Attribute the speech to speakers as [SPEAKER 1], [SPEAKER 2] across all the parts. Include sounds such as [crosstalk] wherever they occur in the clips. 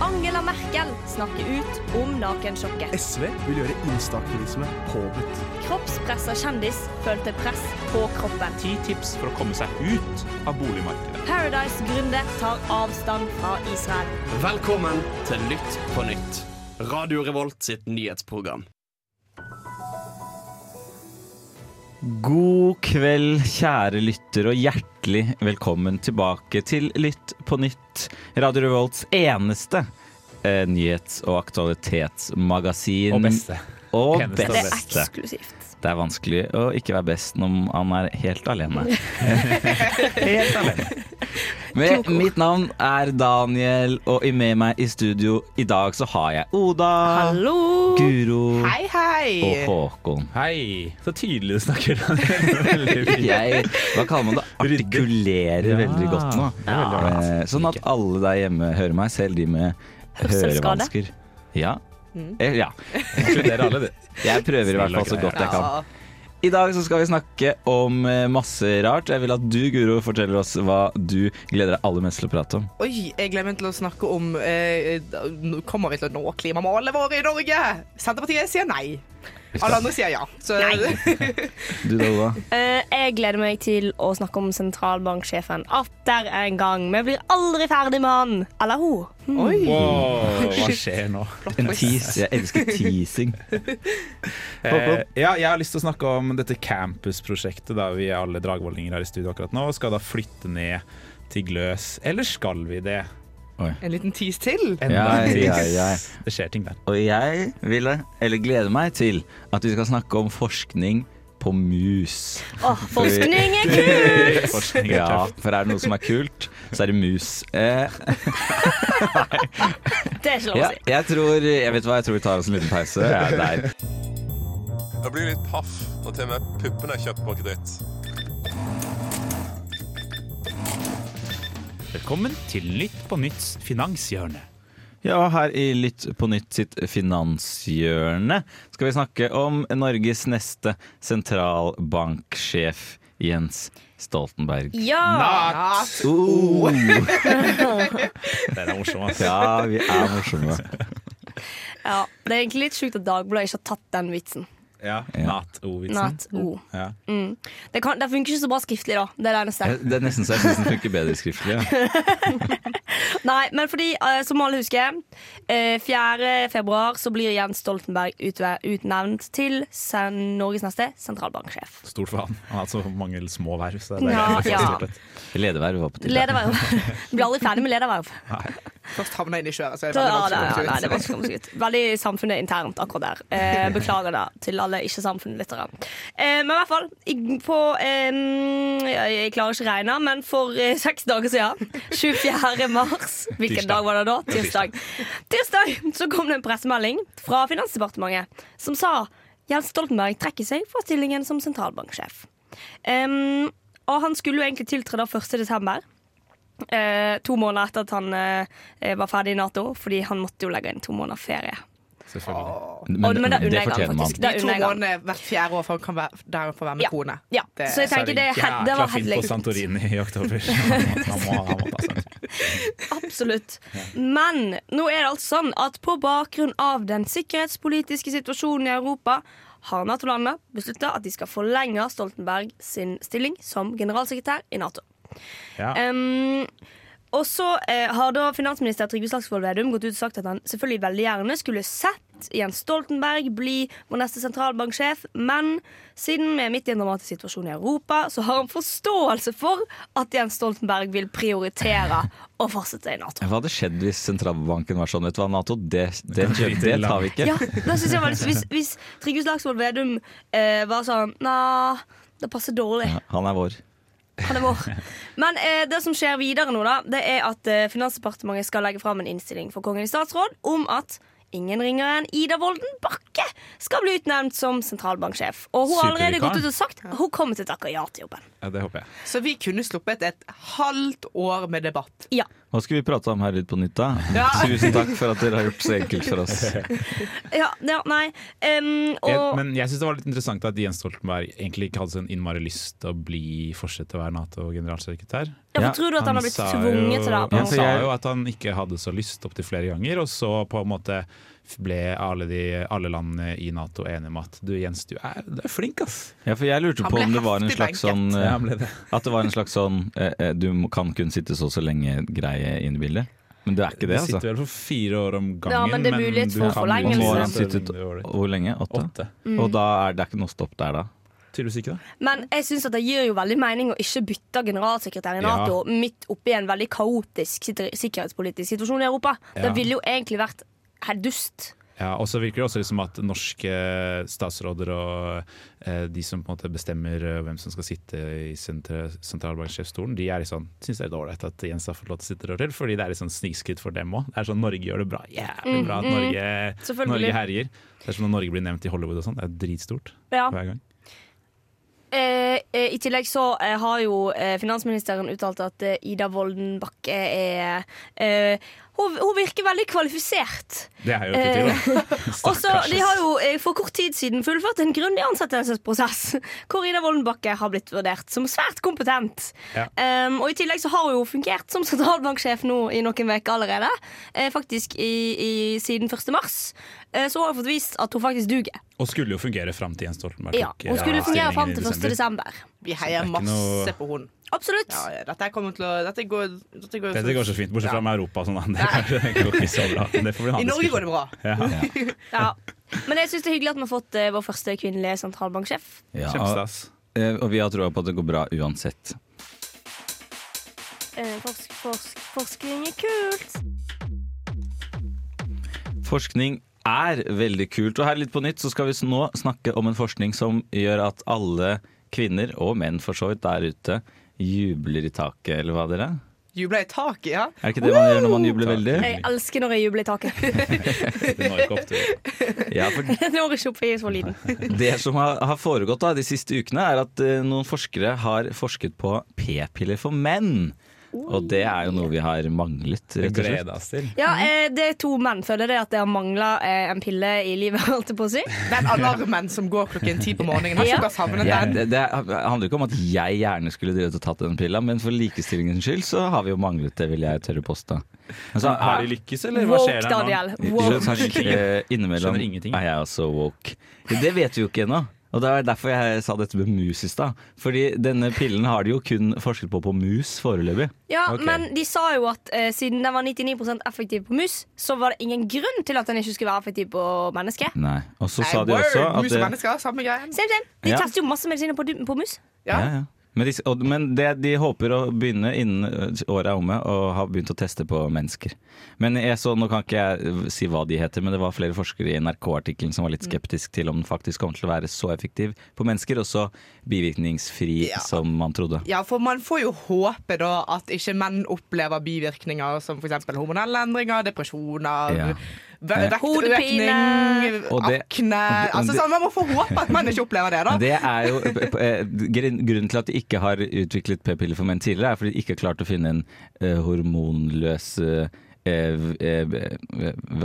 [SPEAKER 1] Angela Merkel snakker ut om nakensjokket.
[SPEAKER 2] SV vil gjøre instaaktivisme påbudt.
[SPEAKER 1] Kroppspressa kjendis følte press på kroppen.
[SPEAKER 3] Ti tips for å komme seg ut av boligmarkedet.
[SPEAKER 1] Paradise-gründer tar avstand fra Israel.
[SPEAKER 4] Velkommen til Lytt på nytt. Radio Revolt sitt nyhetsprogram.
[SPEAKER 5] God kveld, kjære lytter, og hjertelig velkommen tilbake til Lytt på nytt. Radio Revolts eneste eh, nyhets- og aktualitetsmagasin.
[SPEAKER 6] Og beste.
[SPEAKER 5] Og
[SPEAKER 1] Det
[SPEAKER 6] Eneste og
[SPEAKER 5] beste.
[SPEAKER 1] er
[SPEAKER 6] beste.
[SPEAKER 1] eksklusivt.
[SPEAKER 5] Det er vanskelig å ikke være best når man er helt
[SPEAKER 6] [laughs]
[SPEAKER 5] alene. helt alene. Men mitt navn er Daniel, og i- med meg i studio i dag så har jeg Oda,
[SPEAKER 1] Hallo!
[SPEAKER 5] Guro
[SPEAKER 6] Hei, hei!
[SPEAKER 5] og Håkon.
[SPEAKER 6] Hei. Så tydelig du snakker. Veldig fint.
[SPEAKER 5] [laughs] Jeg, hva
[SPEAKER 6] [laughs]
[SPEAKER 5] kaller man det, artikulerer
[SPEAKER 6] Ja.
[SPEAKER 5] veldig godt nå.
[SPEAKER 6] Det er veldig ålreit.
[SPEAKER 5] Eh, Sånn at alle der hjemme hører meg, selv de med
[SPEAKER 1] Hørselsskade.
[SPEAKER 5] hørevansker. Ja. Eh, ja.
[SPEAKER 6] Inkluderer alle, du.
[SPEAKER 5] [laughs] Jeg prøver i hvert
[SPEAKER 6] Snill og
[SPEAKER 5] fall så
[SPEAKER 6] grei.
[SPEAKER 5] godt jeg kan. I dag så skal vi snakke om eh, masse rart. Jeg vil at du, Guro, forteller oss hva du gleder deg aller mest til å prate om.
[SPEAKER 7] Oi, jeg glemmer til å snakke om eh, nå Kommer vi til å nå klimamålet vårt i Norge? Senterpartiet sier nei. Alle andre sier ja. Så [laughs]
[SPEAKER 5] Du da, Oda?
[SPEAKER 1] Eh, jeg gleder meg til å snakke om sentralbanksjefen atter en gang. Vi blir aldri ferdig med han. Eller hun.
[SPEAKER 7] Oi.
[SPEAKER 6] Wow, Eh, hva skjer nå?
[SPEAKER 5] [laughs] En tease. Jeg elsker teasing.
[SPEAKER 6] Eh, ja, jeg har lyst til å snakke om dette campusprosjektet. Da vi er alle dragvoldinger her i studio akkurat nå. Skal da flytte ned til Gløs. Eller skal vi det?
[SPEAKER 7] En liten tease til.
[SPEAKER 6] Enda
[SPEAKER 5] Ja,
[SPEAKER 6] en ting.
[SPEAKER 5] ja, ja.
[SPEAKER 6] [laughs] Det skjer ting der.
[SPEAKER 5] [laughs] Og jeg ville, eller gleder meg til, at vi skal snakke om forskning på mus.
[SPEAKER 1] Åh, forskning er kult!
[SPEAKER 6] Forskning er
[SPEAKER 5] Ja,
[SPEAKER 6] tøft.
[SPEAKER 5] for er [laughs] det noe som er kult, så er det mus. Eh,
[SPEAKER 1] Det er ikke lov å
[SPEAKER 5] ja,
[SPEAKER 1] si.
[SPEAKER 5] jeg tror Jeg vet hva, jeg tror vi tar oss en liten pause. Jeg er der.
[SPEAKER 8] Jeg blir litt paff når til og med puppene er kjøpt på kreditt.
[SPEAKER 3] Velkommen til Nytt på nytts finanshjørne.
[SPEAKER 5] Ja, og her i Lytt på nytt sitt finanshjørne skal vi snakke om Norges neste sentralbanksjef, Jens Stoltenberg.
[SPEAKER 1] Ja!
[SPEAKER 6] Natt!
[SPEAKER 5] Oh,
[SPEAKER 6] Den er altså. morsom, ass.
[SPEAKER 5] ja, vi er morsomme.
[SPEAKER 1] ja. Det er egentlig litt sjukt at Dagbladet ikke har tatt den vitsen.
[SPEAKER 6] Ja. Natt-O-vitsen.
[SPEAKER 1] Not o. Mm.
[SPEAKER 6] Ja.
[SPEAKER 1] Det, kan, det funker ikke så bra skriftlig, da. Det er det eneste.
[SPEAKER 7] Eh.
[SPEAKER 5] Det er nesten så jeg syns den funker bedre skriftlig. Ja.
[SPEAKER 1] Nei, men fordi, eh, som alle husker, eh, 4. februar så blir Jens Stoltenberg utve- utnevnt til sen Norges neste sentralbanksjef.
[SPEAKER 6] Stort for han. Han har hatt så mange små verv. Så det er
[SPEAKER 1] Ja,
[SPEAKER 6] egentlig
[SPEAKER 1] ja.
[SPEAKER 6] stort sett.
[SPEAKER 5] Lederverv var på tide.
[SPEAKER 7] [laughs]
[SPEAKER 1] Lederverv. Blir aldri ferdig med lederverv.
[SPEAKER 7] Først havna inn i sjøen, så er det
[SPEAKER 1] Da, ja,
[SPEAKER 7] veldig
[SPEAKER 1] det, ja,
[SPEAKER 7] vanskelig
[SPEAKER 1] nei, det
[SPEAKER 7] å komme
[SPEAKER 1] var ikke kommet ut. Veldig samfunnet internt akkurat der. Eh,
[SPEAKER 7] [laughs]
[SPEAKER 1] beklager det til alle ikke-samfunnslyttere. Eh, men i hvert fall i- på eh, jeg, jeg klarer ikke å regne, men for eh, seks dager
[SPEAKER 7] [laughs]
[SPEAKER 1] siden, 24. mars Hvilken
[SPEAKER 6] Tirsdag.
[SPEAKER 1] dag var det da? Tirsdag. Tirsdag så kom det en pressemelding fra Finansdepartementet som sa Jens Stoltenberg trekker seg fra stillingen som sentralbanksjef. Em, og han skulle jo egentlig tiltre da 1. desember. Eh, to måneder etter at han eh, var ferdig i Nato, fordi han måtte jo legge inn to måneder ferie.
[SPEAKER 6] Selvfølgelig.
[SPEAKER 1] Og-
[SPEAKER 5] Men,
[SPEAKER 1] men det unner
[SPEAKER 5] det
[SPEAKER 1] jeg han
[SPEAKER 5] fortjener man.
[SPEAKER 1] faktisk.
[SPEAKER 7] ut. De
[SPEAKER 1] Det
[SPEAKER 7] to
[SPEAKER 1] unner jeg han.
[SPEAKER 7] månedene hvert fjerde år for han kan være, der han får være med
[SPEAKER 1] Ja.
[SPEAKER 7] kone.
[SPEAKER 1] Ja,
[SPEAKER 7] Det-
[SPEAKER 1] så jeg tenker det,
[SPEAKER 6] Så
[SPEAKER 1] he-
[SPEAKER 6] er
[SPEAKER 1] det
[SPEAKER 6] jækla
[SPEAKER 1] var
[SPEAKER 6] fint på
[SPEAKER 1] headlegend.
[SPEAKER 6] Santorini i
[SPEAKER 1] [laughs]
[SPEAKER 6] oktober. Han må, han må, han må passe.
[SPEAKER 1] Absolutt. [laughs] Men nå er det altså sånn at på bakgrunn av den sikkerhetspolitiske situasjonen i Europa har Nato-landene beslutta at de skal forlenge Stoltenberg sin stilling som generalsekretær i Nato.
[SPEAKER 6] Ja.
[SPEAKER 1] Um, og så eh, har da finansminister Trygve Slagsvold Vedum gått ut og sagt at han selvfølgelig veldig gjerne skulle sett Jens Stoltenberg bli vår neste sentralbanksjef, men siden vi er midt i en dramatisk situasjon i Europa, så har han forståelse for at Jens Stoltenberg vil prioritere å fortsette i Nato.
[SPEAKER 5] Hva hadde skjedd hvis sentralbanken var sånn, vet du hva, Nato, det, det, det,
[SPEAKER 6] drite i
[SPEAKER 5] det
[SPEAKER 6] land.
[SPEAKER 5] tar vi ikke.
[SPEAKER 1] Ja, da synes jeg var litt, Hvis, hvis Trygve Slagsvold Vedum eh, var sånn Nei, det passer dårlig.
[SPEAKER 5] Han er vår.
[SPEAKER 1] Han er vår. Men eh, det som skjer videre nå, da, det er at eh, Finansdepartementet skal legge fram en innstilling for Kongen i statsråd om at ingen ringere enn Ida Wolden Bakke skal bli utnevnt som sentralbanksjef. Og hun har allerede
[SPEAKER 6] Supervikar.
[SPEAKER 1] gått ut og sagt hun kommer til å takke ja til jobben.
[SPEAKER 6] Ja, det håper jeg.
[SPEAKER 7] Så vi kunne sluppet et halvt år med debatt.
[SPEAKER 1] Ja.
[SPEAKER 5] Hva skulle vi prate om her litt på nytt, da?
[SPEAKER 7] Ja.
[SPEAKER 5] Tusen takk for at dere har gjort det så enkelt for oss.
[SPEAKER 1] ja, ja nei. Em,
[SPEAKER 6] Jeg-
[SPEAKER 1] og
[SPEAKER 6] Men jeg syns det var litt interessant at Jens Stoltenberg egentlig ikke hadde så innmari lyst til å bli fortsette å være Nato-generalsekretær.
[SPEAKER 1] ja,
[SPEAKER 5] ja,
[SPEAKER 1] for tror du at han har blitt tvunget til det? her på
[SPEAKER 5] Ja,
[SPEAKER 1] en
[SPEAKER 6] Han
[SPEAKER 5] for
[SPEAKER 1] måte?
[SPEAKER 6] sa
[SPEAKER 5] jeg-
[SPEAKER 6] jo at han ikke hadde så lyst opptil flere ganger, og så på en måte ble alle, de, alle landene i Nato enige om at du Jens, du er, du er flink, ass.
[SPEAKER 5] Ja, for jeg lurte
[SPEAKER 7] Han
[SPEAKER 5] på
[SPEAKER 7] ble
[SPEAKER 5] om det var en
[SPEAKER 7] heftig
[SPEAKER 5] slags sånn
[SPEAKER 7] benket.
[SPEAKER 5] eh,
[SPEAKER 6] ble det.
[SPEAKER 5] At det var en slags sånn eh, eh, du må- kan kun sitte så og så lenge-greie inn i bildet. Men det er ikke det,
[SPEAKER 6] Du sitter vel
[SPEAKER 5] altså.
[SPEAKER 6] for fire år om gangen,
[SPEAKER 1] Ja, men det er mulighet
[SPEAKER 6] du
[SPEAKER 1] for
[SPEAKER 6] kan
[SPEAKER 1] forlengelse. Og
[SPEAKER 6] jo
[SPEAKER 1] nå har
[SPEAKER 5] han
[SPEAKER 6] større
[SPEAKER 5] sittet-
[SPEAKER 6] vindu over det.
[SPEAKER 5] Hvor lenge? Åtte?
[SPEAKER 6] Åtte.
[SPEAKER 5] Og da er det er ikke noe stopp der, da.
[SPEAKER 6] Tydeligvis ikke, da.
[SPEAKER 1] Men jeg synes at det gir jo veldig mening å ikke bytte generalsekretær i
[SPEAKER 6] Ja.
[SPEAKER 1] Nato midt oppi en veldig kaotisk sitter- sikkerhetspolitisk situasjon i Europa. Det
[SPEAKER 6] Ja.
[SPEAKER 1] ville jo egentlig vært helt dust.
[SPEAKER 6] Ja, og så virker det også liksom at norske statsråder og eh, de som på en måte bestemmer eh, hvem som skal sitte i sentra- sentralbanksjefstolen, de er litt sånn, synes det er litt ålreit at Jens har fått lov til å sitte der til, fordi det er litt sånn snikskritt for dem òg. Det er sånn Norge gjør det bra. Jævlig bra at Norge,
[SPEAKER 1] Mm, Selvfølgelig.
[SPEAKER 6] Norge herjer. Det er som når Norge blir nevnt i Hollywood og sånn. Det er dritstort
[SPEAKER 1] Ja.
[SPEAKER 6] hver gang.
[SPEAKER 1] Eh, eh, I tillegg så eh, har jo eh, finansministeren uttalt at eh, Ida Wolden Bakke er eh, hun, hun virker veldig kvalifisert.
[SPEAKER 6] Det er jo ikke
[SPEAKER 1] [laughs]
[SPEAKER 6] til, da.
[SPEAKER 1] Også,
[SPEAKER 6] Stakkars,
[SPEAKER 1] Eh, de
[SPEAKER 6] ass.
[SPEAKER 1] har jo eh, for kort tid siden fullført en grundig ansettelsesprosess, [laughs] hvor Ida Wolden Bakke har blitt vurdert som svært kompetent.
[SPEAKER 6] Ja.
[SPEAKER 1] Ehm, og I tillegg så har hun jo fungert som sentralbanksjef nå i noen uker allerede. Eh, faktisk i, i, siden 1. mars. Eh, så hun har fått vist at hun faktisk duger.
[SPEAKER 6] Og skulle jo fungere fram til Jens Stoltenberg
[SPEAKER 1] Ja,
[SPEAKER 6] tok, eh,
[SPEAKER 1] hun skulle fungere
[SPEAKER 6] stillingen
[SPEAKER 1] fram
[SPEAKER 6] i
[SPEAKER 1] til 1. desember.
[SPEAKER 7] Vi heier
[SPEAKER 6] det er ikke
[SPEAKER 7] masse
[SPEAKER 6] noe-
[SPEAKER 7] på hun.
[SPEAKER 1] Absolutt.
[SPEAKER 7] Ja, ja, dette her kommer til å Dette går, dette går,
[SPEAKER 6] Dette går så fint, bortsett fra med Europa og sånn. da. Det, det går ikke så bra. Det får bli en
[SPEAKER 7] I
[SPEAKER 6] annen
[SPEAKER 7] Norge går det bra.
[SPEAKER 6] diskusjon. Ja.
[SPEAKER 1] Ja. Men jeg synes det er hyggelig at vi har fått eh, vår første kvinnelige sentralbanksjef.
[SPEAKER 5] Ja, og,
[SPEAKER 6] Kjempestas.
[SPEAKER 5] eh, og vi har troa på at det går bra uansett.
[SPEAKER 1] Eh, forsk, forsk, forskning er kult.
[SPEAKER 5] Forskning er veldig kult. Og her litt på nytt så skal vi s- nå snakke om en forskning som gjør at alle kvinner, og menn for så vidt, der ute jubler i taket, eller hva dere?
[SPEAKER 7] Jubler i taket, ja.
[SPEAKER 5] Er ikke det man gjør når man jubler veldig?
[SPEAKER 1] Jeg elsker når jeg jubler i taket. [laughs]
[SPEAKER 6] Det når ikke opp til
[SPEAKER 5] Ja, for
[SPEAKER 1] Jeg når ikke opp, jeg er så liten.
[SPEAKER 5] Det som har har foregått da, de siste ukene, er at eh, noen forskere har forsket på p-piller for menn. Og det er jo noe vi har manglet, [laughs] rett og slett.
[SPEAKER 6] oss til.
[SPEAKER 1] Ja, eh, det er to menn. Føler det at det har mangla eh, en pille i livet, [laughs] holdt jeg på å si.
[SPEAKER 7] Den alarmen som går klokken ti på morgenen. Har
[SPEAKER 1] Ja.
[SPEAKER 7] ikke dere savnet
[SPEAKER 5] Jeg,
[SPEAKER 7] den?
[SPEAKER 5] det, det handler ikke om at jeg gjerne skulle drevet og tatt den pilla, men for likestillingens skyld så har vi jo manglet det, vil jeg tørre påstå. Altså, Men så
[SPEAKER 6] Har de lykkes, eller hva
[SPEAKER 1] Woke,
[SPEAKER 6] skjer der nå?
[SPEAKER 1] Daniel.
[SPEAKER 5] Jo,
[SPEAKER 1] Woke.
[SPEAKER 5] takk.
[SPEAKER 6] [laughs]
[SPEAKER 5] Eh, Innimellom
[SPEAKER 6] Skjønner ingenting.
[SPEAKER 5] er jeg også woke. Det vet vi jo ikke ennå. Og Det var derfor jeg sa dette med mus i stad. Fordi denne pillen har de jo kun forsket på på mus foreløpig.
[SPEAKER 1] Ja,
[SPEAKER 6] Ok.
[SPEAKER 1] Men de sa jo at eh, siden den var 99 effektiv på mus, så var det ingen grunn til at den ikke skulle være effektiv på mennesker.
[SPEAKER 5] Nei. Og så sa de
[SPEAKER 7] Nei, word,
[SPEAKER 5] også at
[SPEAKER 7] Mus og mennesker, samme greien.
[SPEAKER 1] Same, same. De
[SPEAKER 5] Ja.
[SPEAKER 1] tester jo masse medisiner på, du- på mus.
[SPEAKER 7] Ja.
[SPEAKER 5] Ja, ja. Men, de, og, men det de håper å begynne innen ø, året er omme, og har begynt å teste på mennesker. Men jeg så, Nå kan ikke jeg eh, si hva de heter, men det var flere forskere i NRK-artikkelen som var
[SPEAKER 7] Mm.
[SPEAKER 5] litt skeptisk til om den faktisk kommer til å være så effektiv på mennesker, og så bivirkningsfri
[SPEAKER 7] Ja.
[SPEAKER 5] som man trodde.
[SPEAKER 7] Ja, for man får jo håpe da at ikke menn opplever bivirkninger som f.eks. hormonelle endringer, depresjoner,
[SPEAKER 5] Ja.
[SPEAKER 7] ve- vektøkning,
[SPEAKER 1] Hodepine.
[SPEAKER 5] Og det-
[SPEAKER 7] akne Altså sånn, Man må få håpe at menn ikke opplever det, da.
[SPEAKER 5] Det er jo p- p- eh, grunn- Grunnen til at de ikke har utviklet p-piller for menn tidligere, er fordi de ikke har klart å finne en eh, hormonløs eh, eh, eh,